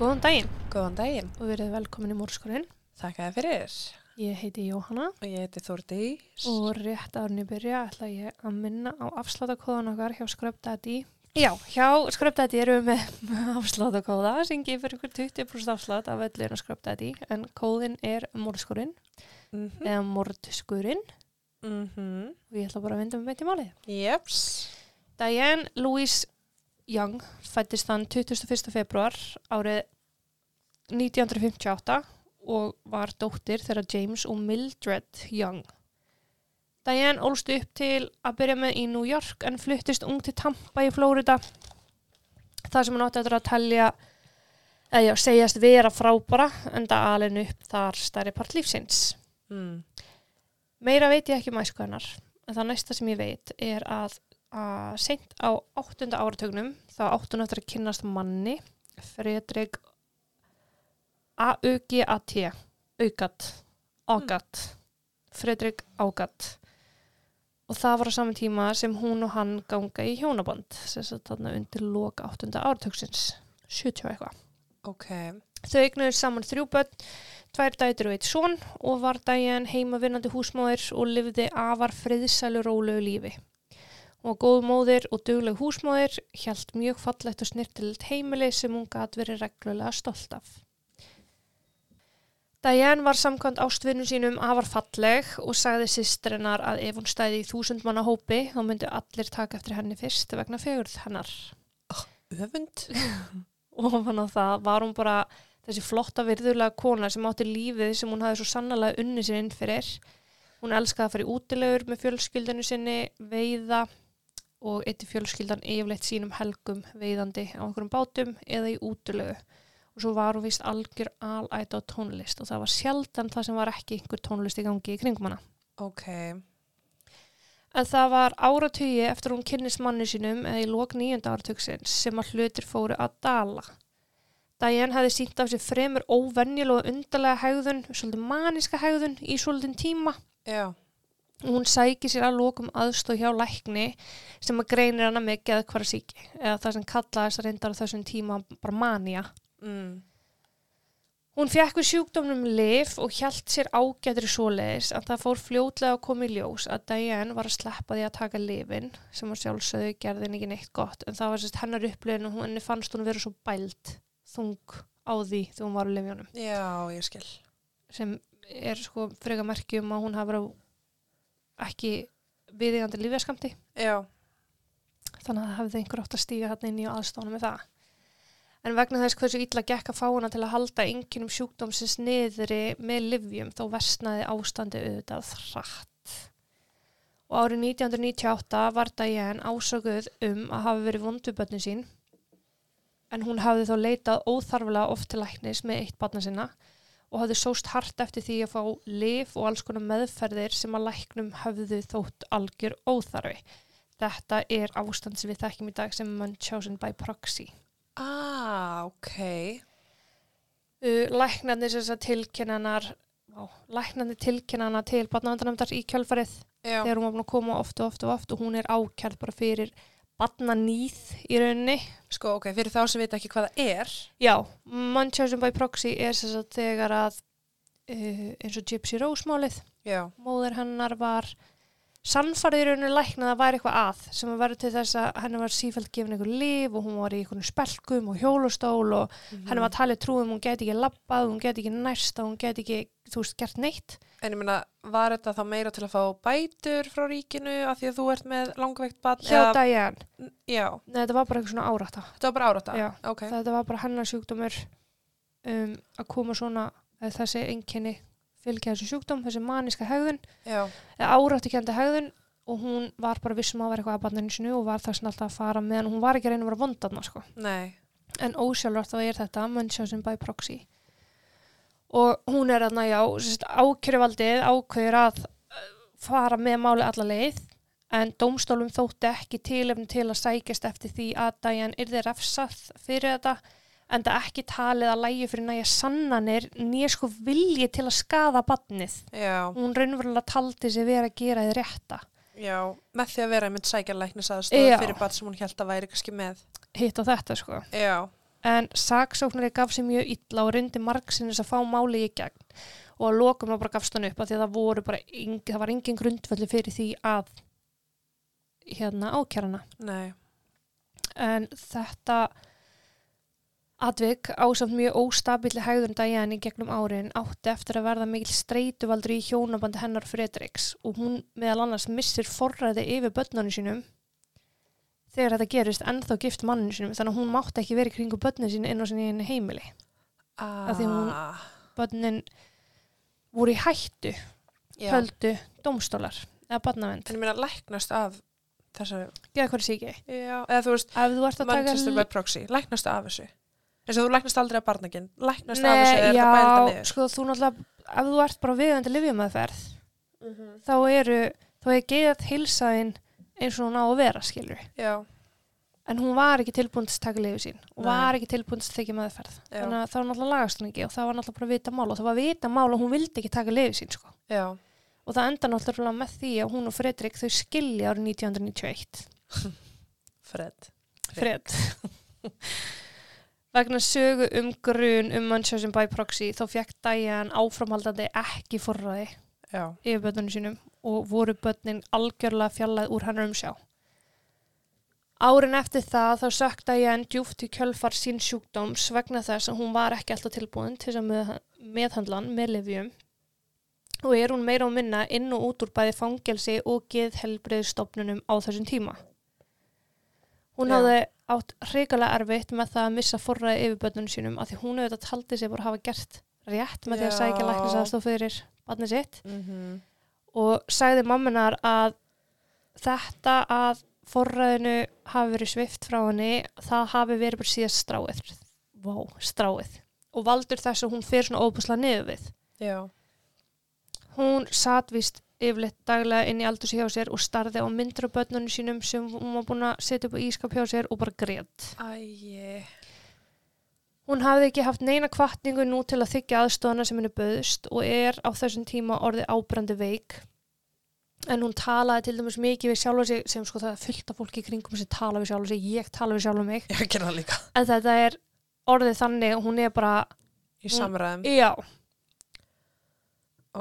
Góðan daginn Góðan daginn, og verið velkomin í Mórskurinn. þakka þér fyrir Ég heiti Jóhanna og ég heiti Þórdís og rétt árni byrja ætla ég að minna á afsláttakóðan okkar hjá Skröpdæti. Já, hjá Skröpdæti erum við með afsláttakóða sem gefur ykkur 20% afslátt af öllun á Skröpdæti en kóðin er Mórskurinn mm -hmm. eða Mórduskurinn og ég ætla bara að vinda mig með í málið. mhm. Jeps Diane Louise Young fættist þann 21. februar árið 1958 og var dóttir þeirra James og Mildred Young. Diane ólst upp til að byrja með í New York en fluttist ung til Tampa í Flórida þar sem hún átti eftir að telja eða já, segjast vera frábara en það alin upp þar stærri part lífsins. mm. Meira veit ég ekki um æsku hennar, en það næsta sem ég veit er að, að seint á áttunda áratugnum þá átti hún eftir að kynnast manni Fredrik A-U-G-A-T Augat, Ágat Fredrik Ágat og það var á saman tíma sem hún og hann ganga í hjónaband sem satt þarna undir loka áttunda áratugsins 70 og eitthvað Ok Þau eignuðu saman þrjú börn, tvær dætur og eitt són og var dæjan heimavinnandi húsmóðir og lifði afar friðsælu rólegu lífi. Hún var góð móðir og dugleg húsmóðir, hjælt mjög fallegt og snirtilegt heimili sem hún gat verið reglulega stolt af. Diane var samkvæmt ástvinnum sínum afar falleg og sagði sýstrennar að ef hún stæði í þúsund manna hópi þá myndu allir taka eftir henni fyrst vegna fegurð hennar Öfund ofan á það var hún bara þessi flotta virðulega kona sem átti lífið sem hún hafði svo sannlega unni sér inn fyrir. Hún elskaði að fara í útilegur með fjölskyldinu sinni, veiða og eitt fjölskyldan yfirleitt sínum helgum veiðandi á einhverjum bátum eða í útilegu. Og svo var hún vist algjör alæta á tónlist og það var sjaldan það sem var ekki einhver tónlist í gangi í kringum hana. Ok En það var áratugi eftir hún kynnist manni sínum eða í lok nýjönda áratugsins sem að hlutir fóru að dala. Diane hefði sínt af sér fremur óvenjulega og undarlega hegðun, svolítið maniska hegðun í svolítið tíma. Já, Hún sæki sér að lokum aðstóð hjá lækni sem að greinir hana með geðkvara síki eða það sem kallaði þessar reyndar á þessum tíma bara mania. mm. Hún fekk við sjúkdómnum lif og hjælt sér ágætri svoleiðis að það fór fljótlega að koma í ljós að Diane var að sleppa því að taka lifin sem að sjálfsögðu gerði henni ekki neitt gott en það var sérst hennar upplifin og hún- henni fannst hún vera svo bælt þung á því þegar hún var á lifjónum já, ég skil sem er sko freka merki um að hún hafa verið á ekki viðigandi lífjaskamti Já, þannig að hafði einhver átt að stíga hann inn í aðstána með það. En vegna þess hversu illa gekk að fá hana til að halda enginum sjúkdómsins niðri með livjum þá versnaði ástandi auðvitað hratt. Og árið 1998 var Diane ásökuð um að hafa verið vondubötni sín en hún hafði þá leitað óþarflega oft til læknis með eitt batna sinna og hafði sóst hart eftir því að fá lif og alls konar meðferðir sem að læknum höfðu þótt algjör óþarfi þetta er ástand sem við þekkjum í dag sem Munchausen by proxy. ah, ok Uh, Læknarnir sem þess að tilkynnanar á, læknarnir tilkynnanar til barnavendarnefndar í kjölfarið Já, þegar hún var búin að koma oft og oft og oft og hún er ákjærð bara fyrir barnanýð í rauninni. sko, ok, fyrir þá sem vita ekki hvað það er Já, Munchausen by proxy er sem sagt þegar að uh, eins og Gypsy Rose málið Já, móður hennar var sannfarið í rauninu læknað að það væri eitthvað að sem að verður til þess að henni var sífælt gefin einhver líf og hún var í einhvern spelkum og hjólustól og Mhm. henni var talið trú um hún geti ekki labbað, hún geti ekki nærst og hún geti ekki, þú veist, gert neitt en ég meina, var þetta þá meira til að fá bætur frá ríkinu af því að þú ert með langveikt barn hjá eða- Diane. Já, Nei, þetta var bara eitthvað svona árætta. þetta var bara árátta Já, Ok, Þetta var bara hennar sjúkdómur um, að koma svona eða þessi einkenni fylgja þessu sjúkdóm, þessi maniska hegðun já, eða áráttukjönda hegðun og hún var bara vissum að vera eitthvað að barninu sinu og var þess alltaf að fara meðan hún var ekki að reyna að vera vondarna sko. nei en ósjálfrátt þá er þetta Munchausen by proxy og hún er þarna já ákjöruvaldið ákveður að eh, fara með máli alla leið en dómstólum þótti ekki tilefni til að sækjast eftir því að Diane yrði refsað fyrir þetta en það ekki talið að lægi fyrir næja sannanir nýja sko vilji til að skaða badnið Já, hún raunverulega taldi sig vera að gera þið rétta já, með því að vera einmitt sækja læknis aðstofa Já. fyrir barn sem hún held að væri kannski með. hitt á þetta sko Já, en saksóknari gaf sér mjög illa og reyndi margsinnis að fá máli í gegn og að lokum þá bara gafst hann upp af því að það voru bara, eng, það var engin grundvöldu fyrir því að hérna ákjærana Nei. en þetta atvik ásamt mjög óstabili hægðurinn Diane í gegnum árin átti eftir að verða mikil streytuvaldur í hjónabandi hennar Fredriks og hún meðal annars missir forræði yfir börnunum sínum þegar þetta gerist ennþá gift manninu sínum þannig að hún mátti ekki verið kringu börnin sín inn á sinni einu heimili Ah, því hún- börnin voru í hættu, já. höldu, dómstólar eða barnavend, En ég meina læknast af þessari, gera hvað er síki já, eða þú veist, ef þú ert að taka Manchester by proxy, læknastu af þessu. Eins og þú læknast aldrei af barnaginn, læknastu af þessu Nei, eða er þetta bælda já, niður. sko þú náttúrulega ef þú ert bara viðandi lifjumæðferð þá eru, þá er geðað hilsaðin eins og hún á að vera skilur Já, en hún var ekki tilbúin til að taka lifið sín og Nei. var ekki tilbúin til að þykja meðferð Já. þannig að þá náttúrulega lagast hún ekki og það var náttúrulega bara vita mál og það var vita mál og hún vildi ekki taka lifið sín sko. já, og það enda náttúrulega með því að hún og Fredrik þau skilja árið 1991 Fred. Fred vegna sögu um grun um Manchester by proxy þá fekk Diane áframhaldandi ekki forræði Já, yfir börnunum sínum og voru börnin algjörlega fjallað úr hennar um sjá. Árin eftir það þá sökta ég enn djúft í kjölfar sín sjúkdóms vegna þess að hún var ekki alltaf tilbúin til þess að með, meðhandlan með lifjum og er hún meira og minna inn og út úr bæði fangelsi og geðhelbriðstofnunum á þessum tíma. Hún Já. hafði átt hrikalega erfitt með það að missa forræði yfir börnunum sínum af því hún auðvitað taldi sig bara hafa gert rétt með því að Já. sækja læknisaðstof fyrir barnið sitt mm og sagði mamminar að þetta að forræðinu hafi verið svift frá henni það hafi verið bara síðast stráið Vá, stráið og valdur þess að hún fyrir svona óbúslega niður við já, hún satt víst yfirleitt daglega inn í aldursi hjá sér og starði á myndir af börnunum sínum sem hún var búin að setja upp á ískap hjá sér og bara grét æj, Hún hafði ekki haft neina kvartningu nú til að þykja aðstofana sem henni böðust og er á þessum tíma orðið ábrandi veik. En hún talaði til dæmis mikið við sjálfa sig sem sko það er fullt af fólki í kringum sem tala við sjálfa sig, ég tala við sjálfa mig. ég gerði það líka. En þetta er orðið þannig að hún er bara, Í Hún- samræðum, já,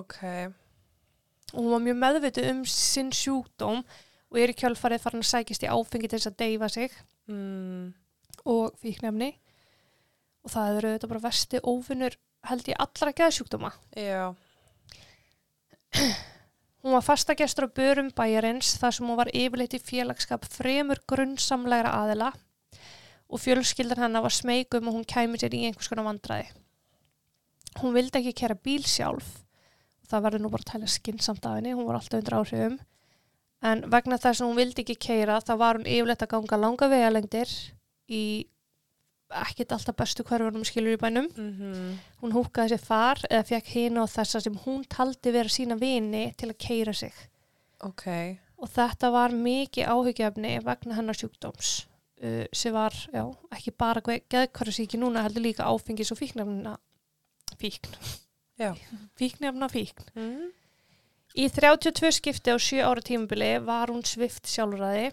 ok, og hún var mjög meðvituð um sinn sjúkdóm og er í kjölfarið farin að sækist í áfengi til þess að deyfa sig. mm, og fíknefni og það eru þetta bara versti óvinnur held ég allra geðsjúkdóma. já, Hún var fastagestur á börum bæjarins þar sem hún var yfirleitt í félagskap fremur grunnsamlegra aðila og fjölskyldan hennar var smeykum og hún kæmi sér í einhvers konar vandræði. Hún vildi ekki kæra bíl sjálf það verður nú bara að tala skinsamt af henni, hún var alltaf undir áhrifum en vegna þess að hún vildi ekki kæra þá var hún yfirleitt að ganga langa vegalengdir í ekkit alltaf bestu hverfunum skilur í bænum mm Hún húkaði sér far eða fekk hina og þessa sem hún taldi vera sína vini til að keira sig. ok, Og þetta var mikið áhyggjafni vegna hennar sjúkdóms uh, sem var, já, ekki bara geðkvarðsíki núna heldur líka áfengis og fíknefna fíkn. Já. Fíknefna fíkn. mm, Í 32 skipti á 7 ára tímabili var hún svift sjálfræði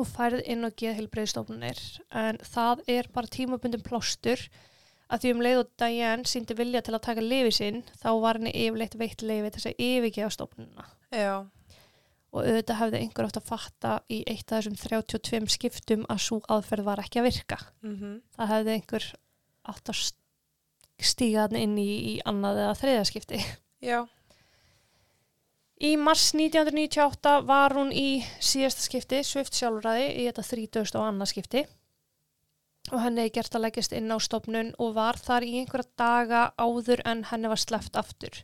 og færð inn á geðheilbreyðstofnunir en það er bara tímabundum plástur að því um leið og Diane síndi vilja til að taka lifi sinn þá var henni yfirleitt veitt lifi til þess að yfirgefa stofnununa já, og auðvitað hefði einhver átt að fatta í eitt af þessum 32 skiptum að svo aðferð var ekki að virka mm það hefði einhver átt að stíga hann inn í, í annað eða þriðaskipti já, Í mars 1998 var hún í síðasta skipti, svift sjálfræði, í þetta 30. og annað skipti og henni er gert að leggjast inn á stofnun og var þar í einhverja daga áður en henni var sleppt aftur.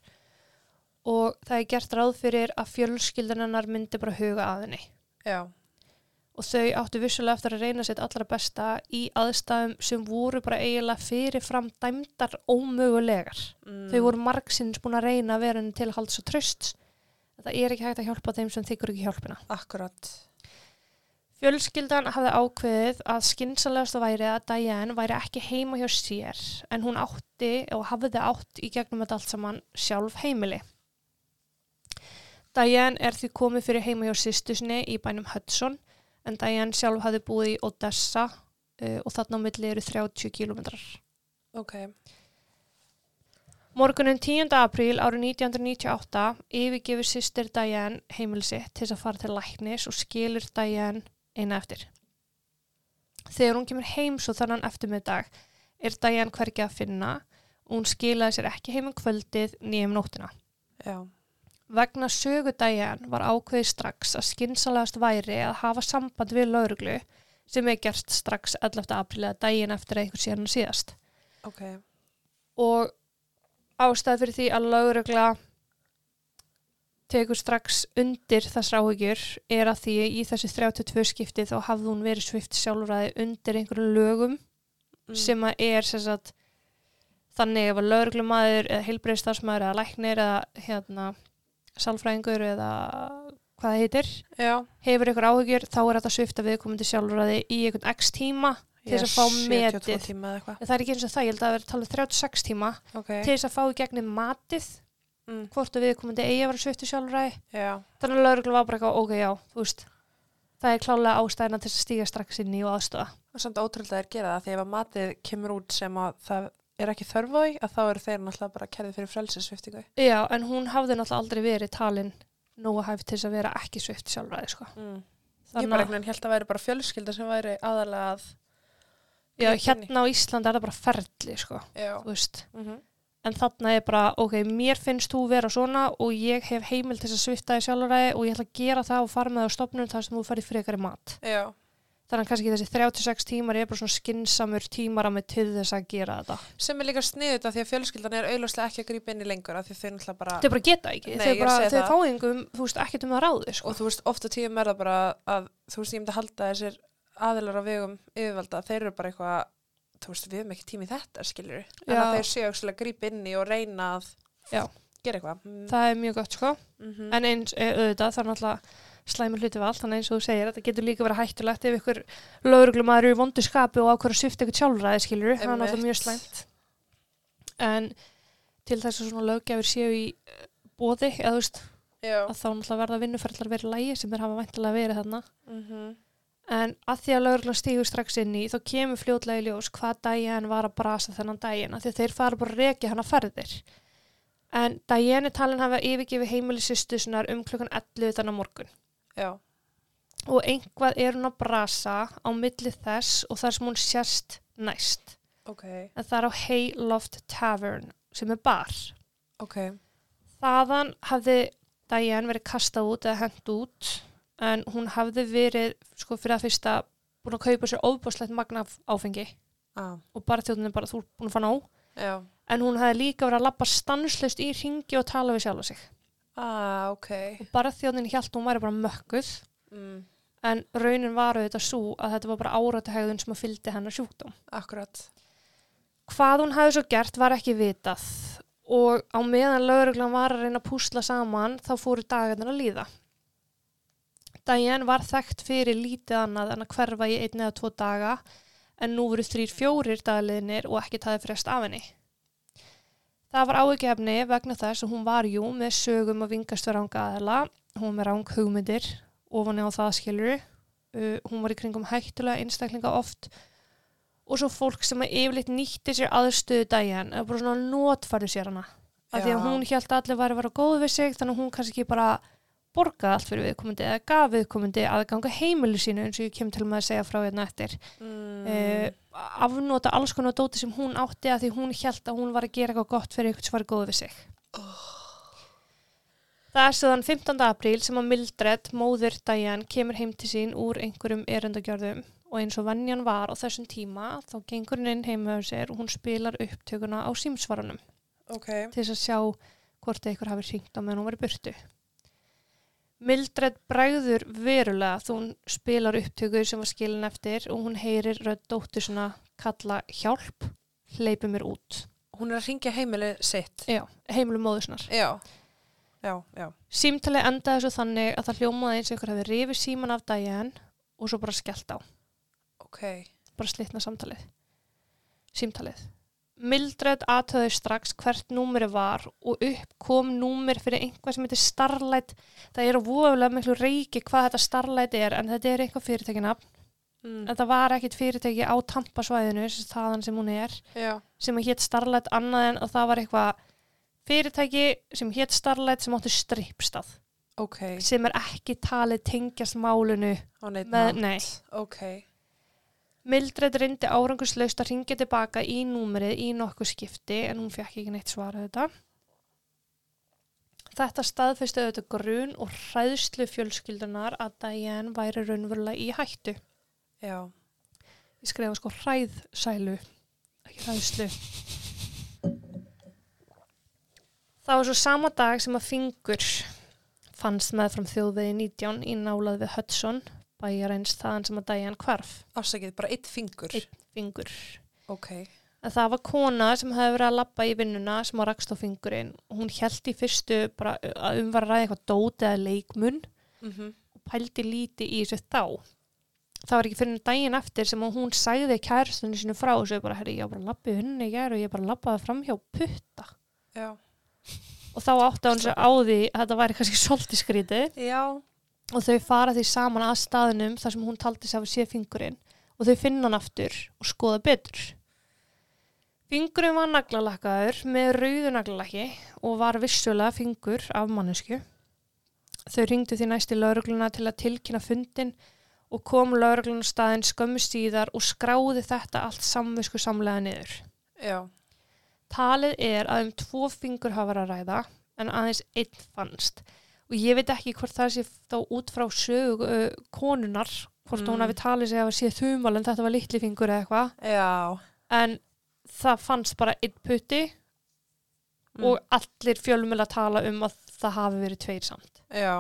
Og það er gert ráð fyrir að fjölskyldanarnar myndi bara huga að henni. já, Og þau áttu vissulega eftir að reyna sitt allra besta í aðstæðum sem voru bara eiginlega fyrirfram dæmdar ómögulegar mm, þau voru margsins búin að reyna að vera henni til að halda svo tröst það er ekki hægt að hjálpa þeim sem þykir ekki hjálpina akkurat, fjölskyldan hafði ákveðið að skinsalegast væri að Diane væri ekki heima hjá sér en hún átti og hafði átt í gegnum þetta allt saman sjálf heimili Diane er því komið fyrir heima hjá sýstusni í bænum Hudson en Diane sjálf hafði búið í Odessa uh, og þarna á milli eru 30 kílómetrar. ok, Morgunum 10. apríl árið 1998 yfirgefur sýstir Diane heimil sitt til þess að fara til læknis og skilur Diane eina eftir. Þegar hún kemur heim svo þannan eftirmiddag er Diane hvergi að finna og hún skilaði sér ekki heim um kvöldið nýjum nóttina. já, Vegna sögu Diane var ákveðið strax að skinsalegast væri að hafa samband við lauruglu sem er gert strax 11. apríl eða daginn eftir að einhver síðan síðast ok, og ástæð fyrir því að lögregla tekur strax undir þessar áhyggjur er að því í þessi 32 skipti þá hafði hún verið svift sjálfræði undir einhverjum lögum Mm. sem að er sem sagt, þannig ef að lögreglumæður eða heilbreyðstarfsmæður eða læknir eða hérna sálfræðingur eða hvað það heitir já, hefur einhver áhyggjur þá er þetta svifta viðkomandi sjálfræði í einhvern x tíma Til þess að fá Ég er 72 metið. tíma eða eitthvað, en það er ekki eins og það, ég held að það vera talað 36 tíma ok, til þess að fá í gegnum matið mm. hvort að viðkomandi eigi að vera sviftu sjálfræði já, þannig að lauruglu var bara eitthvað, ok, já, þú veist það er klálega ástæðina til þess að stíga strax inn í og aðstofa. og samt ótrúld að þeir gera það, því ef að matið kemur út sem að það er ekki þörf á því, að þá eru þeir náttúrulega bara kerðið fyrir frelsisviftingu. Já, en hún hafði náttúrulega aldrei verið talin nógu hæf til þess að vera ekki svift sjálfræði, sko. Mm. Ég bara Þannig að, einhvern veginn held að væri bara fjölskylda sem væri aðalega að, já, hérna á Íslandi er það bara ferli, sko, já, þú veist. mm En þarna er bara, ok, mér finnst þú vera svona og ég hef heimil til þess að svifta þig sjálfræði og ég ætla að gera það og fara með það á stopnum þar sem þú farið frekari mat. já, Þannig að kannski þessi 36 tímar er bara svona skinsamur tímar að til þess að gera þetta. sem er líka sniðut af því að fjölskyldan er auðljóslega ekki að grípa inn í lengur af því að þau náttúrulega bara þau bara geta ekki, Nei, þau, ég er að bara, segja þau það. fáingum, þú veist, ekkert um að ráði sko. og þú veist, ofta tíum er það bara að þú veist, ég myndi að halda að þessir aðilar á vegum yfirvalda, þeir eru bara eitthvað þú veist, við höfum ekki tími í þetta, skilur en að Já. þeir séu auðvitað að grípa inn í og reyna að Já. gera eitthvað mm, það er mjög gott sko, mm en eins eh, auðvitað það er náttúrulega slæmur hluti við allt þannig eins og þú segir, þetta getur líka verið hættulegt ef ykkur lögreglum er í vondu skapi og ákvörðu svift eitthvað sjálfræði skilur, það er náttúrulega mjög slæmt en til þess að svona löggefir séu í bóði, eða þú veist, Já, að þá náttúrulega verða vinnuferðlar verið lægi sem þeir hafa væntilega verið þarna mm en að því að lögreglan stígur strax inn í þá kemur fljótlega í ljós hvað Diane var að brasa þennan daginn af því að þeir fara bara að rekja hana ferðir en Diane er talin hafa yfirgefi heimili sýstu sinnar um klukkan 11 þannig morgun já, og einhvað er hún að brasa á milli þess og þar sem hún sérst næst ok en það er á Hayloft Tavern sem er bar ok, þaðan hafði Diane verið kastað út eða hent út en hún hafði verið sko fyrir að fyrsta búin að kaupa sér ofbúslegt magna af áfengi ah, og bara þjóðin er bara þú er búin að fá nóg já en hún hafði líka verið að labba stanslust í ringi og tala við sjálfa sig ah, ok og bara þjóðin hjælt hún væri bara mökkuð mm, en raunin var auðvitað svo að þetta var bara áratahegðun sem að fylgdi hennar sjúkdóm akkurat hvað hún hafði svo gert var ekki vitað og á meðan lögreglan var að reyna að púsla saman þá fóru dagarnir að líða Diane var þekkt fyrir lítið annað en að hverfa í einn eða tvo daga en nú voru þrýr fjórir dagaliðinir og ekki taði frest af henni. Það var áhugjefni vegna þess að hún var jú með sögum að vingast við ranga aðela, hún var með rang hugmyndir, ofan á það skilur, uh, hún var í kringum hættulega einstaklinga oft og svo fólk sem að yfirleitt nýtti sér aðstöðu daginn, eða bara svona notfæru sér hana. Af því að Já. hún held að allir væri að vera góð við sig, þannig að hún kannski ekki bara borgaði allt fyrir viðkomandi eða gaf viðkomandi aðganga heimilu sínu eins og ég kem til með að segja frá hérna eftir mm, mm. afnota alls konar dóti sem hún átti að því hún held að hún var að gera eitthvað gott fyrir eitthvað sem var góð við sig Það er síðan 15. apríl sem að Mildred, móður Diane, kemur heim til sín úr einhverjum erendagjörðum og eins og vennjan var á þessum tíma þá gengur hún inn heim með sér og hún spilar upptökuna á símsvaranum ok, til þess að sjá hvort eitthvað hafi hringt á meðan hún var í burtu. Mildred bregður verulega þú hún spilar upptökuð sem var skilin eftir og hún heyrir rödd dóttur svona kalla hjálp, hleypi mér út. hún er að ringja heimili sitt Já, heimilum móðusnar. já, já, já Símtali endaði þessu þannig að það hljómaði eins og einhver hafi rifið síman af Diane og svo bara skellt á. ok, bara slitna samtalið símtalið Mildred aðtöði strax hvert númeri var og upp kom númer fyrir einhvað sem heitir Starlight það er vofulega miklu reiki hvað þetta Starlight er en þetta er eitthvað fyrirtækinafn Mm. Þetta var ekkit fyrirtæki á tampasvæðinu, sem þaðan sem hún er, Já, sem hétt Starlight annað en að það var eitthvað fyrirtæki sem hétt Starlight sem áttu strippstað, ok. sem er ekki talið tengjast málunu. Á neitt Með, nátt. nei. Ok. Mildred reyndi árangurslaust að ringja tilbaka í númerið í nokkuð skipti en hún fekk ekki neitt svara þetta. Þetta staðfestu auðvitað grun og hræðslu fjölskyldunar að Diane væri raunverulega í hættu. Já. Ég skrifa sko hræðsælu, ekki hræðslu. Það var svo sama dag sem að fingur fannst meðfram þjóðvegi 19 í nálað við Hudson, bæjarins þaðan sem að Diane hvarf. Afsakið, bara eitt fingur. Einn. Fingur. Ok. En það var kona sem hefði verið að labba í vinnuna sem á rakst á fingurinn. Hún held í fyrstu bara að um var að ræða eitthvað dót eða leikmun Mm og pældi líti í þessu þá. Það var ekki fyrir daginn eftir sem að hún sagði kærastunni sinu frá og svo bara, herri, ég var bara að labba í vinnunni í gær og ég bara labbaði fram hjá putta. Já. Og þá átti hann sér á því að þetta væri kannski svolítið skrítið Já. og þau fara því saman að staðinum þar sem hún taldi sér að sé fingurinn og þau finna hann aftur og skoða betur. Fingurinn var naglalakkaður með rauðu naglalakki og var vissulega fingur af mannesku. Þau ringdu því næst í laurugluna til að tilkynna fundin og kom laurugluna staðin skömmu síðar og skráði þetta allt samvisku samlega niður. Já. Talið er að um tvo fingur hafa verið að ræða en aðeins einn fannst og ég veit ekki hvort það sé þá út frá sögu uh, konunar hvort Mm. hún hafi talið sig að sé þumal en þetta var litli fingur eða eitthvað Já. en það fannst bara einn putti Mm. og allir fjölmjöla tala um að það hafi verið tveir samt. Já.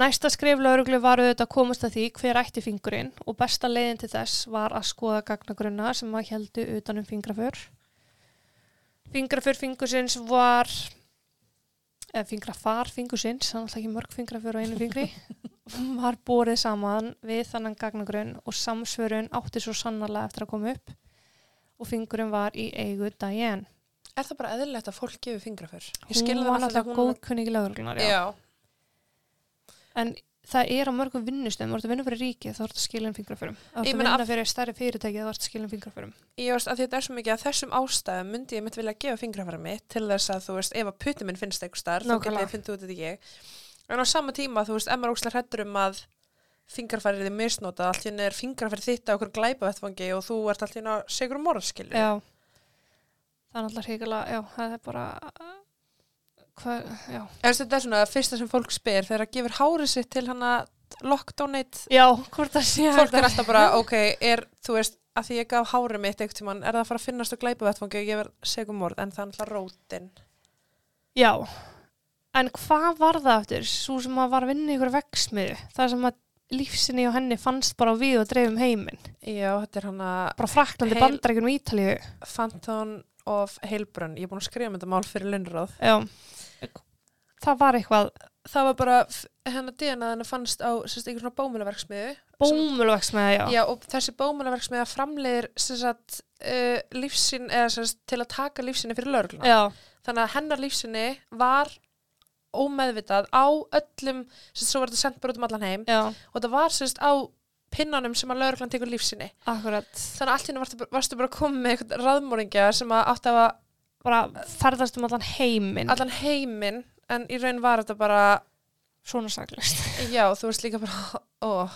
Næsta skrif lauruglu var auðvitað að komast að því hver ætti fingurinn og besta leiðin til þess var að skoða gagnagrunna sem að heldu utanum fingraför. Fingraför fingursins var, eða fingrafar fingursins, hann alltaf ekki mörg fingraför á einu fingri, var borið saman við þannan gagnagrunn og samsvörun átti svo sannarlega eftir að koma upp og fingurinn var í eigu daginn. Er það bara eðlilegt að fólk gefur fingra fyrr? Hún var náttúrulega góðkunningi lauruglunar, Já. Já. En það er á mörgum vinnustöðum, þú ert að vinna fyrir ríkið, þá ert að skilja um fingraförum. Þú ert Ég að meina vinna fyrir stærri fyrirtæki, þá ert að skilja um fingraförum. Ég veist að því þetta er svo mikið að þessum ástæðum myndi ég mitt vilja gefa fingrafæra mitt til þess að þú veist, ef að putti minn finnst eitthvað starf, þá getið Nákvæmlega. ég fundið út þetta ég. En á sama tíma, þú veist, ef maður ókslega hrættur um að fingrafærið er misnotað, allt hérna er fingrafærið þitt á okkur glæpavettfangi og þú ert allt hérna sigur um morðskilju. Já. Það er náttúrulega hrigalega, já, það er bara, hvað, já. En þetta er svona að fyrsta sem fólk spyr þegar það gefur hárið sitt til hana lockdownit, Já, hvort það sé fólk er alltaf bara, ok, er, þú veist, að því ég gaf hárið mitt einhvern tímann, er það að fara að finnast á glæpavettfangi og ég verð segum morð, en það er alltaf rótin. Já, en hvað var það eftir, svo sem að var að vinna í ykkur veksmiðu, það sem að lífsinni og henni fannst bara á við og dreifum heiminn, Já, þetta er hana bara fraklandi Heil- Heil... bandarækjunum í Ítalíu. Phantom of Heilbrunn, ég er búin að skrifa um þetta mál fyrir Lundráð. Já, það var eitthvað Það var bara, f- hennar DNA hennar fannst á sérst, einhver svona bómulaverksmiðu. bómulveksmiða, já. Já, og þessi bómulaverksmiða framleiðir sérst, uh, lífsin, eða sérst, til að taka lífsinni fyrir lögregluna. já. Þannig að hennar lífsinni var ómeðvitað á öllum, sérst, svo var þetta sendt bara út um allan heim Já, og það var sérst á pinnanum sem að lögreglan tekur lífsinni. akkurat. Þannig að allt hérna varstu, bara- varstu bara að koma með eitthvað raðmóringja sem að átti að bara ferðast um allan heiminn allan heiminn en í raun var þetta bara svona saklist já, þú veist líka bara ó,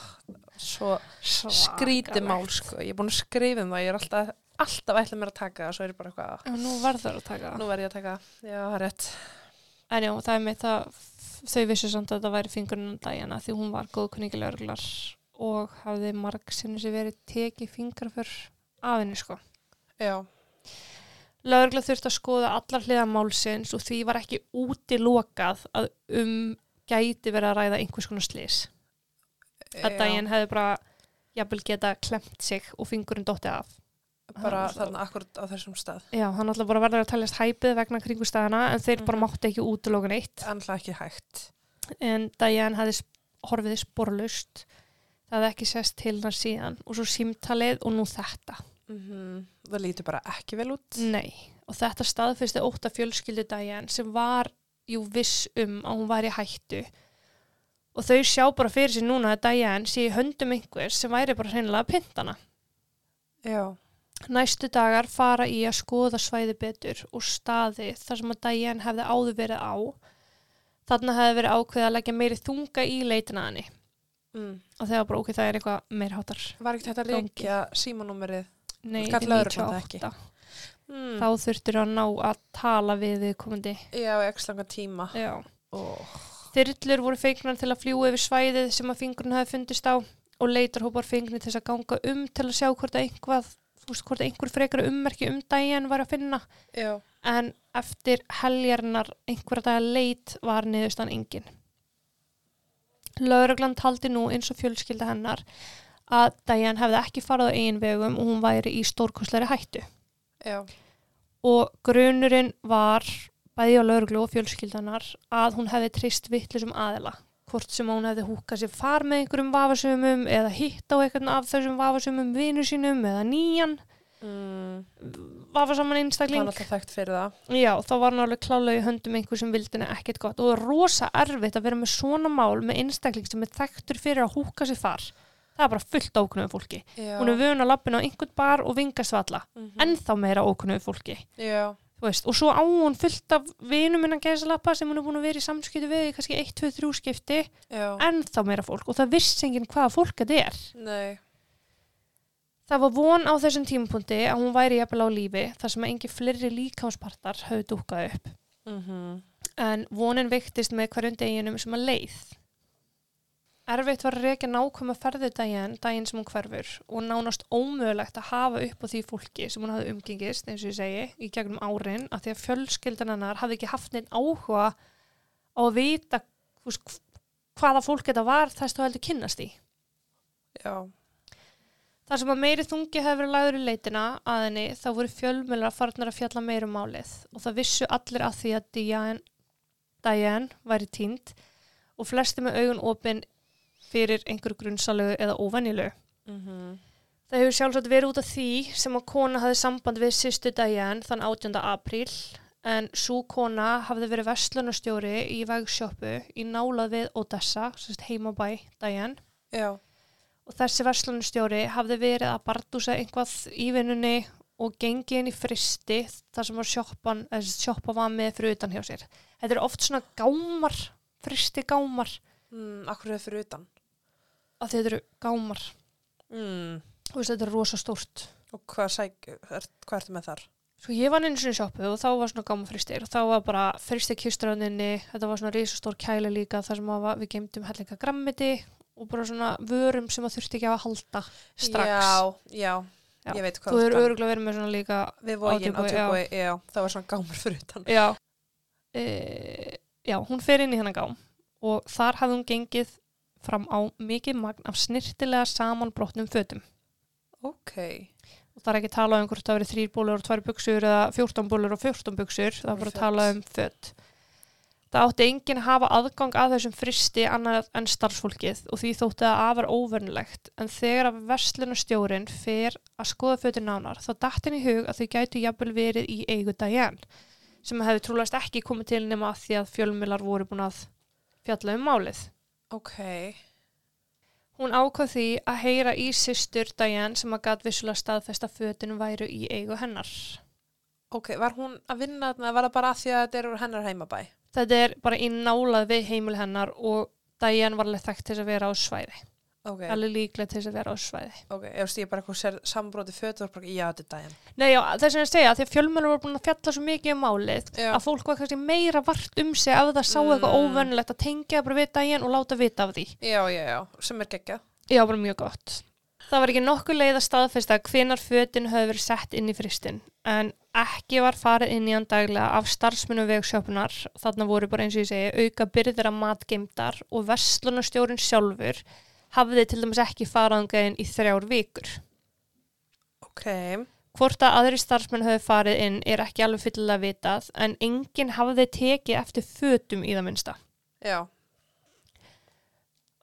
svo skrítið mál sko, ég er búin að skrifa um það ég er alltaf, alltaf ætlað mér að taka það og svo er ég bara eitthvað, "Ah, og nú verður að taka nú verð ég að taka það. já, það er rétt, en já, það er mitt að þau vissu samt að þetta væri fingurinn um dagina því hún var góð kunningilegurglar og hafði marg sinni sem verið tekið fingra fyrr af henni sko já, Laurugla þurfti að skoða allar hliða málsins og því var ekki úti lokað að um gæti verið að ræða einhvers konar slís. Að Já. daginn hefði bara jafnvel geta klemt sig og fingurinn dótti af. bara Það var þarna akkurat á þessum stað Já, hann alltaf bara verður að teljast hæpið vegna kringustæðana en þeir bara Mhm. mátti ekki útlóka neitt. annað ekki hægt En Diane hafði sp- horfið sporlust, það hafði ekki sest til hann síðan og svo símtalið og nú þetta. mm það lítur bara ekki vel út Nei, og þetta staðfyrsti óta fjölskyldu Diane sem var jú viss um að hún var í hættu og þau sjá bara fyrir sér núna að Diane sé í höndum einhvers sem væri bara hreinlega að pynta hana. Já. Næstu dagar fara í að skoða svæði betur og staði þar sem að Diane hefði áður verið á. Þarna hefði verið ákveðið að leggja meiri þunga í leitina að henni Mm. og þegar bara ok, það er eitthvað meirháttar. Var ekkert hægt að Gangi. reykja símanúmerið? Nei, Skall í lögreglan það ekki? 98. Mm. Þá þurftur að ná að tala við við komandi. Já, x langan tíma. Já. Oh. Þyrlur voru fengnar til að fljúa yfir svæðið sem að fingurinn hafi fundist á og leitarhópar fengnir til þess að ganga um til að sjá hvort að einhvað, þú veist, hvort að einhver frekara ummerki um daginn var að finna Já. en eftir heljarnar einhverja dagar leit var niðurstan engin. Lauraglan taldi nú eins og fjölskylda hennar að Diane hefði ekki farið á eigin vegum og hún væri í stórkostleiri hættu Já. og grunurinn var bæði á lauruglu og fjölskyldanar að hún hefði treyst vittlisum aðila hvort sem hún hefði húkað sér far með einhverjum vafasumum eða hitt á einhvern af þessum vafasumum vinnu sínum eða nýjan Mm. vafasaman Það er einstakling alltaf þekkt fyrir það. Já, þá var hann alveg klálega í höndum einhver sem vildi henni ekkert gott og það er rosa erfitt að vera með svona mál með einstakling sem er þekktur fyrir að húka sér far það er bara fullt áknöðu fólki Já. hún er vön að lappina á einhvern bar og vingast valla Mhm. ennþá meira áknöðu fólki Já. Þú veist, og svo á hún fullt af vinum innan gæðslappa sem hún er búin að vera í samskipti við í kannski 1, 2, 3 skipti Já. ennþá meira fólk og það vissi enginn hvaða fólk þetta er. Nei. Það var von á þessum tímapunkti að hún væri jafnvel á lífi þar sem engin fleiri líkámspartar höfðu dúkað upp Mm en vonin veiktist með hverjum deginum sem að leið. Erfitt var að reykja nákvæma ferðu daginn, daginn sem hún hverfur og nánast ómögulegt að hafa upp á því fólki sem hún hafði umgengist, eins og ég segi, í gegnum árin að því að fjölskyldan hennar hafði ekki haft neitt áhuga á að vita þú veist, hvaða fólk þetta var þess þú heldur kynnast í. Já. Þar sem að meiri þungi hefur verið lagður í leitina að henni þá voru fjölmjölar farnar að fjalla meira um málið og það vissu allir að því að Diane, Diane væri týnd og flesti með augun opin fyrir einhverju grunnsalegu eða óvenjulegu. Mm Það hefur sjálfsagt verið út af því sem að kona hafði samband við sýstu Diane þann 18. apríl en svo kona hafði verið verslunarstjóri í vegsjöpu í nálað við Odessa, sem sagt heimabæ Diane Já. og þessi verslunustjóri hafði verið að bardúsa einhvað í vinnunni og gengi inn í fristi þar sem var sjoppan, eða sjoppa var með fyrir utan hjá sér. Þetta er oft svona gámar, fristi gámar, Mm, akkur er það fyrir utan. að þetta eru gámar. Mm. Þú veist, þetta er rosa stórt. Og hvað, sæk, er, hvað ertu með þar? Svo ég var einu sinni í sjoppu og þá var svona gámafristir og þá var bara fristi kiströðninni, þetta var svona risastór kæli líka þar sem var, við geymdum hellinga grammiti og bara svona vörum sem að þurfti ekki á að halda strax. Já, já, Já. ég veit hvað Þú þú er ert að- öruglega verið með svona líka Við vógin á Tjúguborg, já. tjúbúi, já, það var svona gámur fyrir utan. já. E, já, hún fer inn í hennan gám og þar hafði hún gengið fram á mikið magn af snirtilega samanbrotnum fötum Ok, og það er ekki talað um hvort það verið þrýr bólur og tvær buksur eða fjórtán bólur og fjórtán buksur það er bara Föt. að tala um fött það átti enginn að hafa aðgang að þessum fristi annað en starfsfólkið og því þótti það afar óvernilegt en þegar að verslunastjórin fer að skoða fötin nánar þá datt henni í hug að þau gætu jafnvel verið í eigu daginn sem hefði trúlega ekki komið til nema að því að fjölmilar voru búin að fjalla um málið ok, Hún ákvað því að heyra í systur Diane sem að gat vissulega staðfesta fötinu væru í eigu hennar. ok, var hún að vinna þarna, var það bara að því að þetta eru hennar heimabæ? Þetta er bara í nálað við heimil hennar og Diane var alveg þekkt til þess að vera á svæði. Ok, Alveg líklega til þess að vera á svæði. ok, ef þú stíði bara eitthvað sér sambróti fötur, bara, já, þetta er daginn. Nei, já, þess að ég segja, því að fjölmjölur voru búin að fjalla svo mikið um málið Já. að fólk var kannski meira vart um sig ef það sá eitthvað Mm. óvönulegt að tengja bara við Diane og láta vita af því. Já, já, já, sem er geggjað. Já, bara mjög gott. Það var ekki nokkuð leið að staðfesta hvenar fötin höfðu verið sett inn í fristin en ekki var farið inn í hann daglega af starfsmunum vegsjöpunar þarna voru bara eins og ég segi auka byrðir af matgeimdar og verslunarstjórinn sjálfur hafði til dæmis ekki faraðangaðin í þrjár vikur. Ok, Hvort að aðri starfsmenn höfðu farið inn er ekki alveg fyllilega vitað en enginn hafði tekið eftir fötum í það minnsta. já,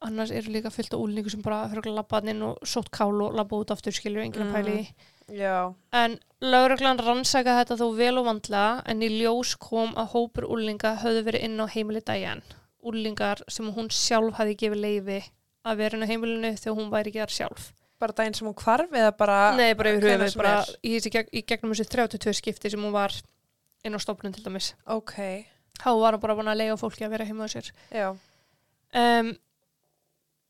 Annars eru líka fyllt á úlningu sem bara fyrir að labba þarna inn og sótt kál og labba út aftur skilur enginn að pæli í. já, En lauruglan rannsaka þetta þó vel og vandlega en í ljós kom að hópur úlinga höfðu verið inn á heimili daginn úlingar sem hún sjálf hafi gefið leifi að vera inn á heimilinu þegar hún væri ekki þar sjálf. bara daginn sem hún kvarf eða bara Nei, bara yfir Ah, hvenær höfuð, sem bara er. í, þessi gegn, í gegnum þessi 32 skipti sem hún var inn á stofnun til dæmis. ok, Þá var hún bara búin að leiða fólki að vera heima á sér. já, Um,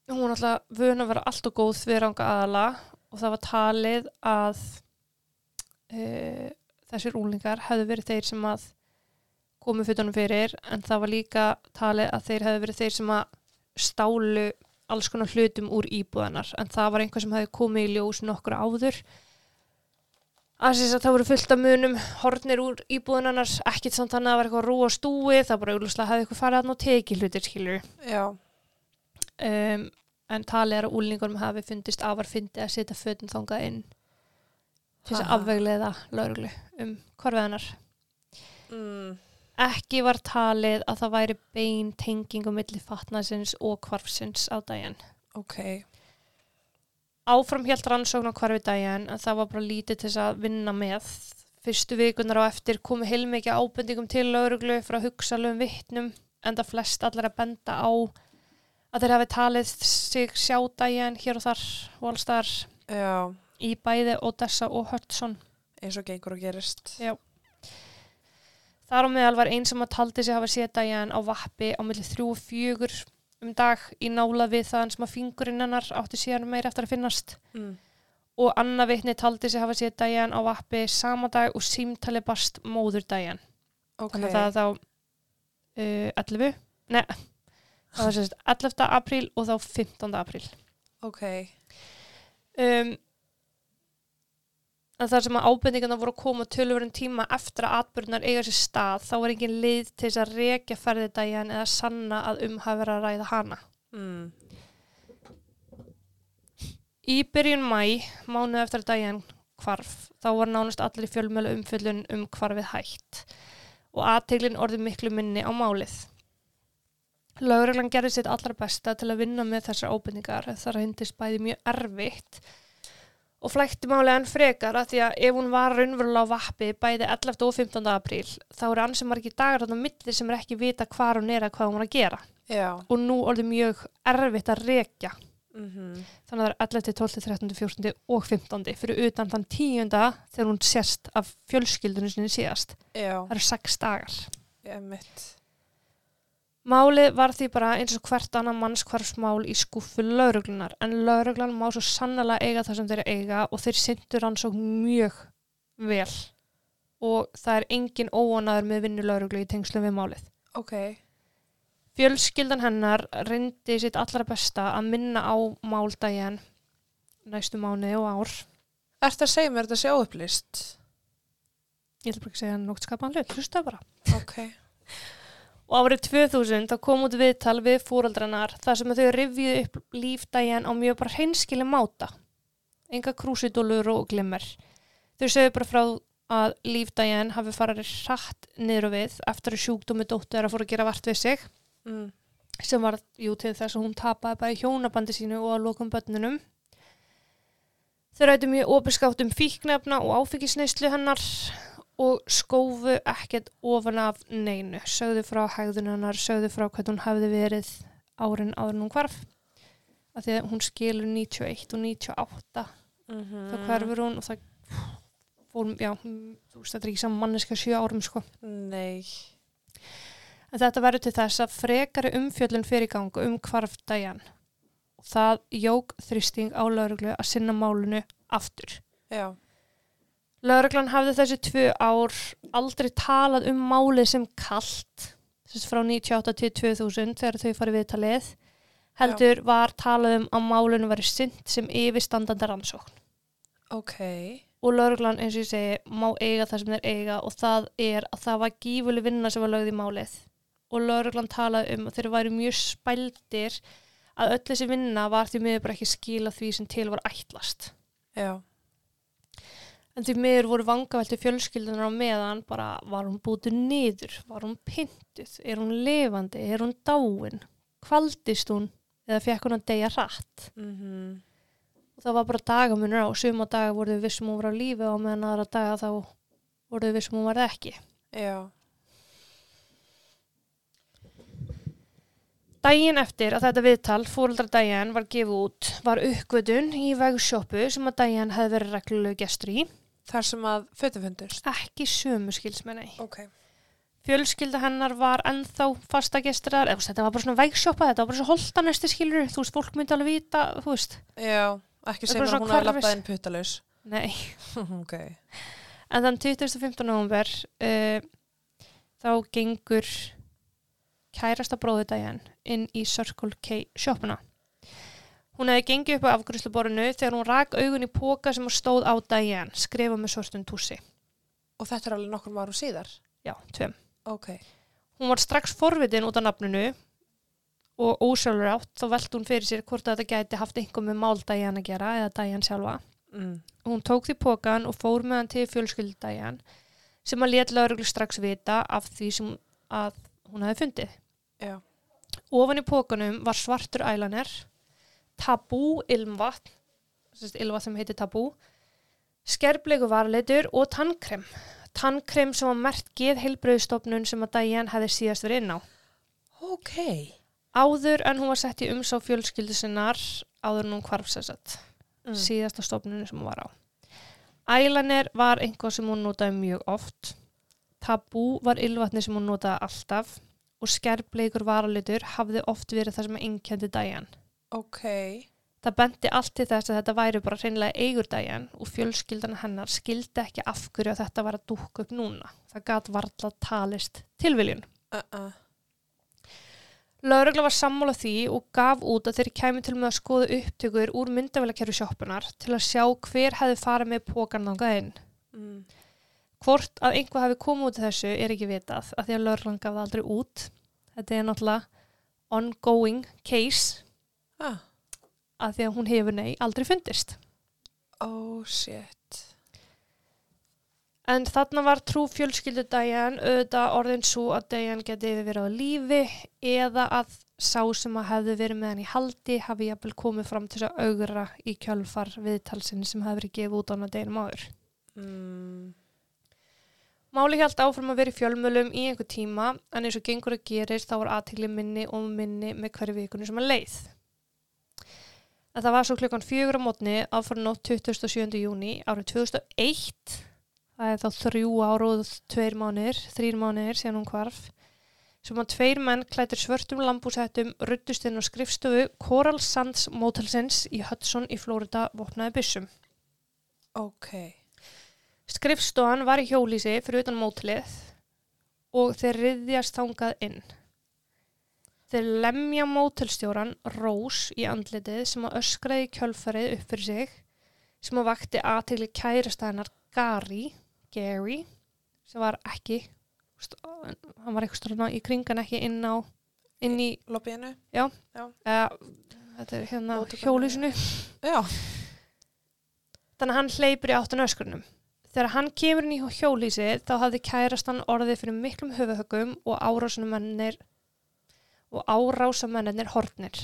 hún var alltaf vön að vera allt og góð þveranga aðala og það var talið að uh, þessir úlingar hefðu verið þeir sem að komu fötunum fyrir en það var líka talið að þeir hefðu verið þeir sem að stálu alls konar hlutum úr íbúðanar en það var einhver sem hefði komið í ljós nokkru áður að þess að það voru fullt af munum hornir úr íbúðanarnas ekkit samt þannig að það var eitthvað rúa stúi það bara auðvitað hefði eitthvað farið að ná tekið hlutir skilur já um, en talið er að úlingunum hafi fundist afar fyndi að setja fötum þangað inn til þess að Ha. afvegleiða lauruglu um hvarfið hennar. mm, Ekki var talið að það væri bein tenging um milli fatnaðsins og hvarfsins á daginn. ok, Áfram hélt rannsókn á hvarfi daginn en það var bara lítið til þess að vinna með. Fyrstu vikunar á eftir komu heilmikið ábendingum til lauruglu frá hugsalum vittnum en það flest allir að benda á að þeir hafi talið sig sjá daginn hér og þar og alls þar já í bæði Odessa og Hudson. eins og gengur og gerist Já. Þar á meðal var einn sem að taldi sig hafa séð daginn á vappi á milli þrjú og fjögur um dag í nála við þaðan sem að fingurinn hennar átti síðan meir eftir að finnast mm, og annað vitni taldi sig hafa séð daginn á vappi sama dag og símtali barst móður daginn. ok, Þannig að það er þá uh, 11, nei, það var sérst 11. apríl og þá 15. apríl. ok um, en þar sem að ábendingarna voru að koma tölvörun tíma eftir að atbyrðnar eiga sér stað þá var engin leið til þess að rekja ferðidæjan eða sanna að um hafi verið að ræða hana. mm, Í byrjun mæ, mánuð eftir að dæjan hvarf, þá var nánast allir í fjölmjölu umfyllun um hvarfið hætt og aðteglin orðið miklu minni á málið. Lögreglan gerði sitt allra besta til að vinna með þessar ábendingar en það reyndist bæði mjög erfitt og flækti málið enn frekar að því að ef hún var raunverulega á vappi bæði 11. og 15. apríl þá eru ansi margir dagar þarna á milli sem er ekki vita hvar hún er að hvað hún er að gera já og nú orðið mjög erfitt að rekja mm þannig að það er 11., 12., 13., 14. og 15. fyrir utan þann 10. þegar hún sérst af fjölskyldunum sinni síðast. já, Það eru 6 dagar. emitt Málið var því bara eins og hvert annað mannskvarsmál í skúffu lauruglunar en lauruglan má svo sannlega eiga það sem þeir eiga og þeir syndur hann svo mjög vel og það er engin óanaður með vinnu lauruglu í tengslum við málið. ok, Fjölskyldan hennar reyndi sitt allra besta að minna á máldægin næstu mánuði og ár ertu að segja mér þetta sé óupplýst ég ætla bara ekki að segja nótt skapaðan hlut, hlusta bara. ok, Og árið 2000 þá kom út viðtal við fóraldranar þar sem að þau rifjuðu upp lífdægin á mjög bara hreinskili máta. Enga krúsidólur og glimmer. Þau sögðu bara frá að lífdægin hafi farið hratt niður og við eftir að sjúkdómi dóttu er að fóra að gera vart við sig mm, sem var jú til þess að hún tapaði bara í hjónabandi sínu og að lokum börnunum. Þau rættu mjög opinskátt um fíknefna og áfengisneyslu hennar og skófu ekkert ofan af neinu. Sögðu frá hegðun hennar, sögðu frá hvernig hún hafði verið árin áður en hún hvarf. Af því að hún skilur 91 og 98 mm þá hverfur hún og það fórum, já, þú veist þetta er ekki saman manneska sjö árum sko. nei En þetta verður til þess að frekari umfjöllun fyrir gangu um hvarf dagjan. Það jók þrýsting á lauruglu að sinna málunu aftur. já, Lauruglan hafði þessi tvö ár aldrei talað um málið sem kalt, þess frá 98 til 2000 þegar þau farið viðtalið, heldur var talað um að málinu væri sint sem yfirstandandi rannsókn. ok og lauruglan eins og ég segi má eiga það sem þeir eiga og það er að það var gífuleg vinna sem var lögð í málið og lauruglan talaði um að þeir væri mjög spældir að öll þessi vinna var því miður bara ekki skila því sem til var ætlast já, en því miður voru vangavelti fjölskyldunar á meðan bara var hún bútu niður var hún pyntuð, er hún lifandi er hún dáin, kvaldist hún eða fekk hún að deyja rætt mhm og það var bara dagamunur á suma daga voru við vissum hún var á lífi og á meðan aðra daga þá voru um við vissum hún var það ekki já, Dægin eftir að þetta viðtal, fóreldra Dæjan var gefið út, var uppgötun í vegsjópu sem að Dæjan hefði verið reglulegu gestur í. Þar sem að fötum fundust. Ekki sömu skilsmenni. Ok. Fjölskylda hennar var ennþá fasta gestur þar, eða þú veist, þetta var bara svona vegsjópa, þetta var bara svo holta næstu skilur, þú veist, fólk myndi alveg vita, þú veist. Já, ekki Það er bara segja svona mér að hún hafi hvarfis- labbað inn puttalaus. Nei. ok. En þann 25. november uh, þá gengur kærasta bróði daginn inn í Circle K sjoppuna. Hún hefði gengið upp á afgriðsluborinu þegar hún rak augun í póka sem hún stóð á daginn, skrifa með svörstun tússi. Og þetta er alveg nokkur árum síðar. Já, tveim. Ok. Hún var strax forvitin út af nafninu og ósjálfur átt þá velti hún fyrir sér hvort þetta gæti haft einhver með mál daginn að gera eða daginn sjálfa. Mm. Hún tók því pókan og fór með hann til fjölskyldudæjan sem að lét lauruglu strax vita af því sem að hún hafi fundið. Já. Ofan í pókanum var svartur ælaner, tabú ilmvatn, sérst ilmvatn sem heitir tabú, skerblegu varleitur og tannkrem. Tannkrem sem var mert geð heilbröðstofnun sem að dæjan hefði síðast verið inn á. Ok. Áður en hún var sett í umsá fjölskyldu sinnar, áður en hún hvarf sér sett Mm. síðasta stofnunum sem hún var á. Ælanir var einhvað sem hún notaði mjög oft. Tabú var ylvatni sem hún notaði alltaf og skerbleikur varalitur hafði oft verið það sem einkendi dæjan. Ok. Það benti allt til þess að þetta væri bara hreinlega eigur dæjan og fjölskyldan hennar skildi ekki af hverju að þetta var að dúkka upp núna. Það gat varla talist tilviljun. Uh-uh. Laurugla var sammála því og gaf út að þeir kæmi til með að skoða upptökur úr myndavælakerfi sjoppunar til að sjá hver hefði farið með pókan þangað inn. Mm. Hvort að einhvað hafi komið út af þessu er ekki vitað að því að lauruglan gaf það aldrei út. Þetta er náttúrulega ongoing case Ah. að því að hún hefur nei aldrei fundist. Oh shit. En þarna var trú fjölskyldu Diane auðvitað orðin svo að Diane geti verið á lífi eða að sá sem að hefði verið með hann í haldi hafi jafnvel komið fram til þess að augra í kjölfar viðtalsinn sem hefði verið gefið út á hann að deginum áður. Mm. Máli held áfram að vera í fjölmölum í einhver tíma en eins og gengur að gerist þá var aðtikli minni og minni með hverju vikunni sem að leið. En það var svo klukkan fjögur á mótni aðfara nótt 27. júni árið 2001 það er þá þrjú ára og tveir mánir, þrýr mánir síðan hún hvarf sem að tveir menn klættir svörtum lambúsettum ruttust inn á skrifstofu Coral Sands Motelsins í Hudson í Florida vopnaði byssum. Ok. Skrifstofan var í hjólísi fyrir utan mótlið og þeir riðjast þangað inn. Þeir lemja mótelstjóran Rós í andlitið sem að öskraði kjölfarið upp fyrir sig sem að vakti aðtegli kærastæðinar Gary, Gary sem var ekki st- hann var eitthvað strána í kringan ekki inn á inn í Lobbyinu? uh, þetta er hérna Móttökunni. hjólísinu Já. Þannig að hann hleypur í áttun öskrunum. Þegar hann kemur inn í hjólísið þá hafði kærastan orðið fyrir miklum höfuhögum og árásamennir og árásamennir hortnir.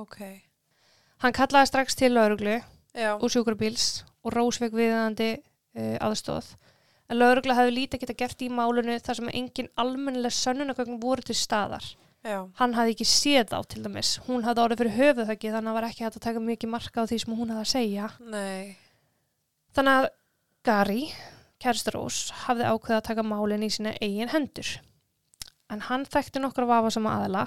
Ok. Hann kallaði strax til lauruglu Já. og sjúkrabíls og Rósveig viðandi uh, aðstóð. En laurugla hafði lítið geta gert í málinu þar sem engin almennileg sönnunagögn voru til staðar. Já. Hann hafði ekki séð á til dæmis. Hún hafði orðið fyrir höfuhögi þannig að var ekki hægt að taka mikið marka á því sem hún hafði að segja. Nei. Þannig að Gary, kærastur Rós, hafði ákveðið að taka málin í sína eigin hendur. En hann þekkti nokkra vafasama aðila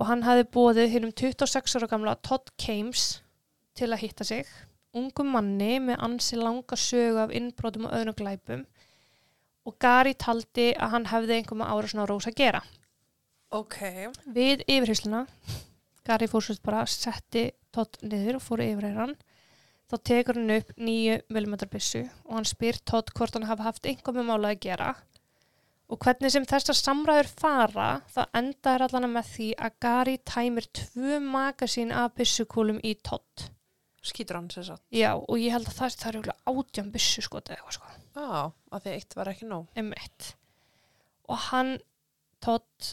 og hann hafði bóðið hinnum 26 ára gamla Todd Kames til að hitta sig, ungum manni með ansi langa sögu af innbrotum og öðrum glæpum og Gary taldi að hann hefði einhverjum ára svona Rós að gera. Ok. Við yfirhysluna, Gary fórsvist bara setti Todd niður og fóru yfir hann. Þá tekur hann upp 9mm byssu og hann spyr Todd hvort hann hafi haft einhver með mála að gera. Og hvernig sem þessar samræður fara, þá enda er allan með því að Gary tæmir tvö magasín af byssukúlum í Todd. Skýtur hann sér satt. Já, og ég held að það, það er jökulega átján byssu sko, eða eitthvað sko. Já, af því að eitt var ekki nóg. Emmett. Og hann, Todd,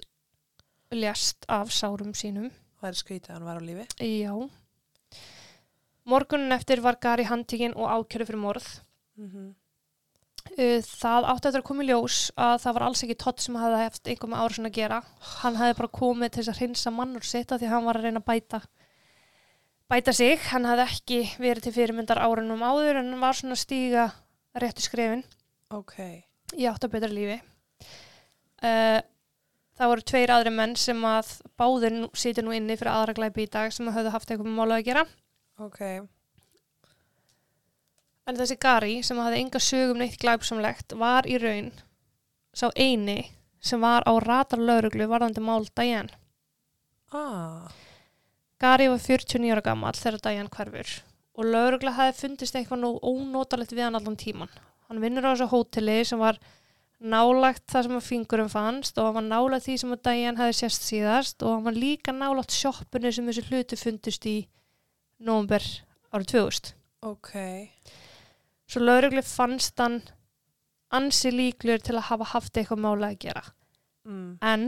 lést af sárum sínum. Það er skrítið að hann var á lífi. Já. Morgunin eftir var Gary handtíkin og ákjöru fyrir morð. Mm -hmm. Uh, það átti eftir að koma í ljós að það var alls ekki tótt sem hafði haft einhver með árásin að gera. Hann hafði bara komið til þess að hreinsa mannur sitt af því að hann var að reyna að bæta bæta sig. Hann hafði ekki verið til fyrirmyndar árunum áður en var svona að stíga réttu skrefin Ok. í átt að betra lífi. Uh, það voru tveir aðri menn sem að báðir nú- sitja nú inni fyrir aðra glæpi í dag sem hafði haft einhver með mála að gera. Ok. En þessi Gary sem hafði enga sögum neitt glæpsamlegt var í raun sá eini sem var á ratar lauruglu varðandi mál Diane. Ah. Gary var 49 ára gamall þegar Diane hverfur og laurugla hafði fundist eitthvað nú ónótalegt við hann allan tíman. Hann vinnur á þessu hóteli sem var nálagt það sem að fingurum fannst og hann var nálagt því sem að Diane hafði sérst síðast og hann var líka nálagt sjoppunni sem þessu hlutu fundust í nómber árið 2000. Ok. Svo lauruglu fannst hann ansi líklur til að hafa haft eitthvað mála að gera. Mm. En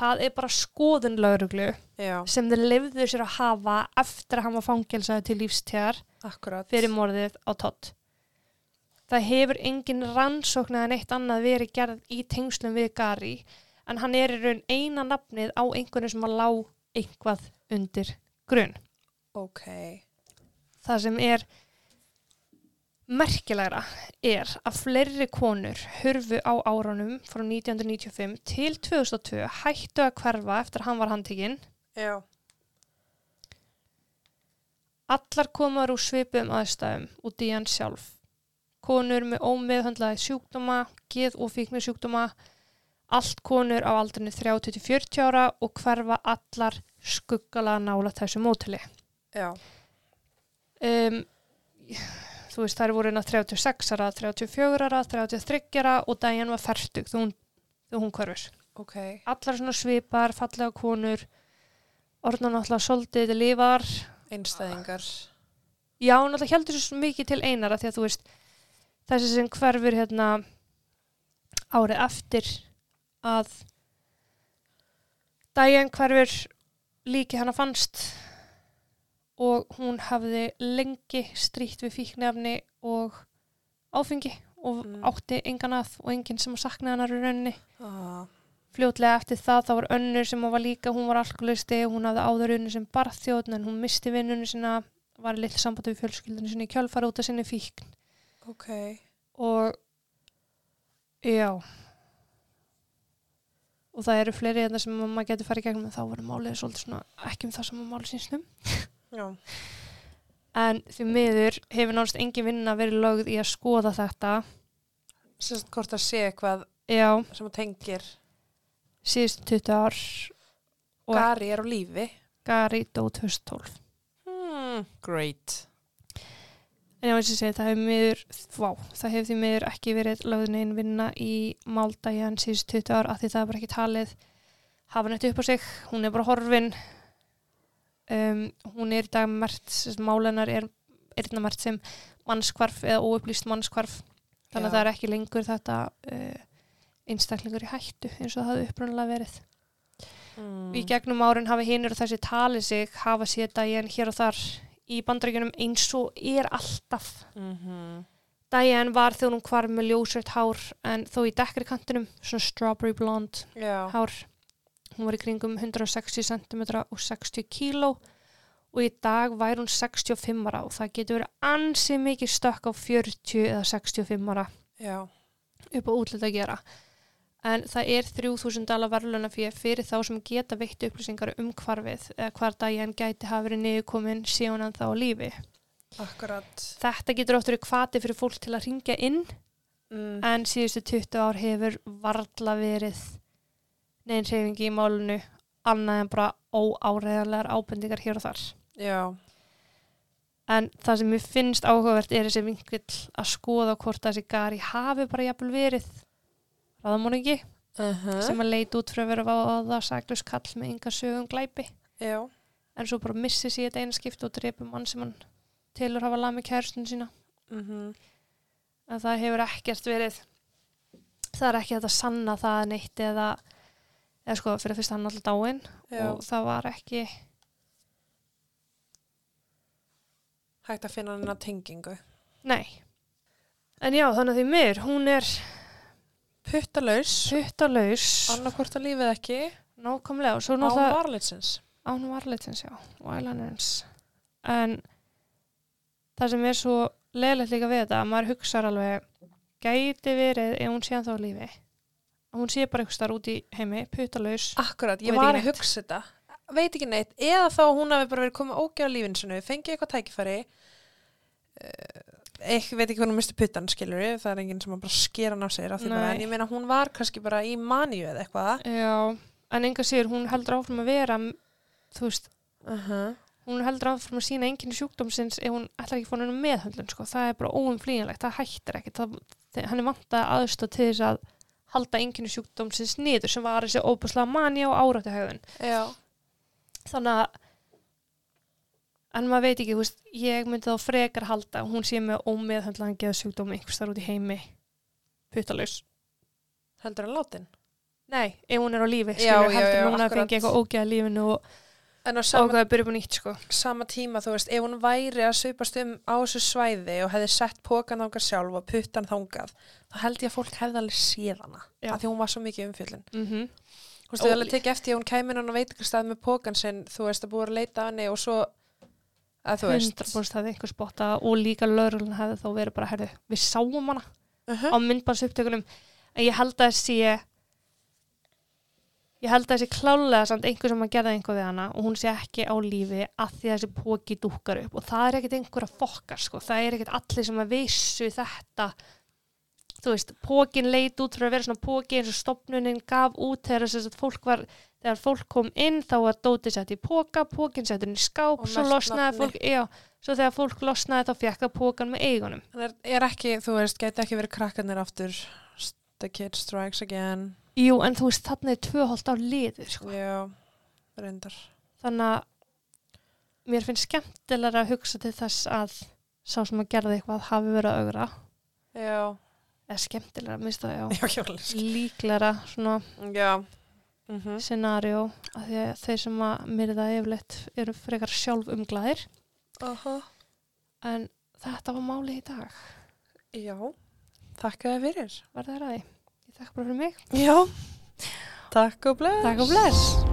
það er bara skoðun lauruglu Já, sem þeir lifðu sér að hafa eftir að hann var fangelsaði til lífstjar akkurat. fyrir morðið á Todd. Það hefur engin rannsókn eða neitt annað verið gerð í tengslum við Gary en hann er í raun eina nafnið á einhverju sem að lá einhvað undir grunn. Ok. það sem er merkilegra er að fleiri konur hurfu á árunum frá 1995 til 2002 hættu að hverfa eftir að hann var handtekinn. Já. Allar komar úr svipum aðstæðum út í hann sjálf. Konur með ómeðhöndlaði sjúkdóma, geð og fíknu sjúkdóma, allt konur á aldrinu 30-40 ára og hverfa allar skuggalega nála þessu mótili. Já. um, þú veist þær voru hérna 36 ára, 34 ára, 33 ára og daginn var færtug þegar hún, þegar hún hverfur. Ok. Allar svona svipar, fallega konur, orðna náttúrulega soldið, lifar. Einstæðingar. Já, hún náttúrulega heldur svo mikið til einara því að þú veist þessi sem hverfur hérna árið eftir að daginn hverfur líki hana fannst og hún hafði lengi strýtt við fíknefni og áfengi og Mm. átti engan að og enginn sem saknaði hennar í rauninni Ah. fljótlega eftir það þá var önnur sem var líka, hún var alkoholisti hún hafði áður unni sem barþjóðn en hún misti vinnunni sinna, var í litlu sambandi við fjölskyldunni sinni, í kjölfar út af sinni fíkn Ok. og já og það eru fleiri þetta sem maður getur farið í gegnum en þá voru málið svolítið svona ekki um það sem að málið sínsnum Já. en því miður hefur nánast engin vinna verið lögð í að skoða þetta Sérst hvort að sé eitthvað já, sem að tengir. síðustu 20 ár Og- Gari er á lífi. Gary dó 2012 Hmm. Great. En já, eins og ég segi, það hefur miður, vá, það hefur því miður ekki verið lögðin einn vinna í máldægjan síðust 20 ár að því það er bara ekki talið hafa nættu upp á sig, hún er bara horfin, um, hún er í dag mert, málennar er erna mert sem mannskvarf eða óupplýst mannskvarf, þannig Já. að það er ekki lengur þetta uh, einstaklingur í hættu eins og það hafði upprunalega verið Mm. í gegnum árin hafa hinnur og þessi talið sig hafa séð daginn hér og þar í bandrækjunum eins og er alltaf Mm Diane var þegar hún hvarf með ljósrætt hár en þó í dekkri kantinum, svona strawberry blonde Já. hár. Hún var í kringum 160 cm og 60 kg og í dag væri hún 65 ára og það getur verið ansi mikið stökk á 40 eða 65 ára Já. upp á útlita að gera. En það er 3000 dala verðluna fyrir, fyrir þá sem geta veitt upplýsingar um hvarfið eða hvar Diane gæti hafa verið niðurkomin síðan hann þá á lífi. Akkurat. Þetta getur oft verið kvati fyrir fólk til að ringja inn Mm. en síðustu 20 ár hefur varla verið neinn hreyfingi í málunu annað en bara óáreðanlegar ábendingar hér og þar. Já. En það sem mér finnst áhugavert er þessi vinkvill að skoða hvort þessi gari hafi bara jafnvel verið ráðamóningi Uh -huh. sem að leita út fyrir að vera váða saklus kall með ynga sögum glæpi Já. en svo bara missi sér þetta eina skipt og drepi mann sem hann telur hafa lami kærustinu sína Mm -hmm. en það hefur ekkert verið það er ekki hægt að sanna það neitt eða, eða sko fyrir fyrst hann alltaf dáinn Já. og það var ekki Hægt að finna hennar tengingu. nei, En já, þannig að því mér, hún er puttalaus, puttalaus, annarkvort að lífið ekki nákvæmlega og svo án náttúrulega varlitsins án varlitins, já, og ælanins en það sem er svo leðilegt líka við þetta að maður hugsar alveg gæti verið ef hún sé hann þá lífi að hún sé bara ykkur starf út í heimi putalaus, Akkurat, ég Veit var ekki að hugsa þetta veit ekki neitt, eða þá hún hafi bara verið komið ógjör á lífinu sinu, fengið eitthvað tækifæri eh, ekki, veit ekki hvernig hún misti puttan skilur það er enginn sem að bara skera hann af sér af því bara, Nei. en ég meina hún var kannski bara í maníu eða eitthvað já en enga sér, hún heldur áfram að vera þú veist, uh -huh. hún heldur áfram að sína enginn sjúkdómsins ef hún ætlar ekki að fór hennu meðhöndlun sko. það er bara óumflýjanlegt, það hættir ekkit það, hann er vantað aðstóð til þess að halda enginn sjúkdómsins niður sem var þessi óbúslega manja og áráttu Já, þannig að en maður veit ekki, þú veist, ég myndi þá frekar halda að hún sé með ómeðhöndlaðan geðsjúkdómi einhvers þar út í heimi puttalaus. heldur hann látin Nei, ef hún er á lífi, Já, skilur já, heldur já, já, hún að akkurat. fengi eitthvað ógeða lífinu og En á Sama. sama, ákveða að byrja upp á nýtt, sko. sama tíma, þú veist, ef hún væri að svipast um á þessu svæði og hefði sett pókan þangað sjálf og puttan þangað þá held ég að fólk hefði alveg séð hana Já. af því hún var svo mikið umfjöllin Mm -hmm. Þú veist, Ólík. ég alveg tekið eftir að hún kæmi inn á veitingastað með pókan sinn, þú veist, að búið að leita að henni og svo, að þú veist, 100% hafði einhver spotta og líka lögurlun hefði þá verið bara, herðu, við sáum hana uh á myndbansuptökunum en ég held að sé ég held að sé klálega samt einhver sem að gera einhver við hana og hún sé ekki á lífi að því að þessi póki dúkkar upp og það er ekkit einhver að fokkar sko, það er ekkit allir sem að vissu þetta þú veist, pókin leit út fyrir að vera svona póki eins og stopnunin gaf út þegar þess að fólk var þegar fólk kom inn þá var dótið sett í póka pókin settur inn í skáp, Og svo merkt losnaði nafni. fólk já, svo þegar fólk losnaði þá fekk það pókan með eigunum er, er ekki, þú veist, gæti ekki verið krakkarnir aftur, s- the kid strikes again, Jú, en þú veist, þarna er tvöholt á liðið, sko. já, reyndar. þannig að mér finnst skemmtilega að hugsa til þess að sá sem að gerði eitthvað hafi verið að augra Já, eða skemmtilega, mér finnst það, já já, hjólis. líklega svona Já, mm scenario af því að þeir sem að myrða yfirleitt eru frekar sjálf umglæðir en þetta var máli í dag já, þakka þér fyrir. var það ræði, ég þakka bara fyrir mig Já, takk og bless. Takk og bless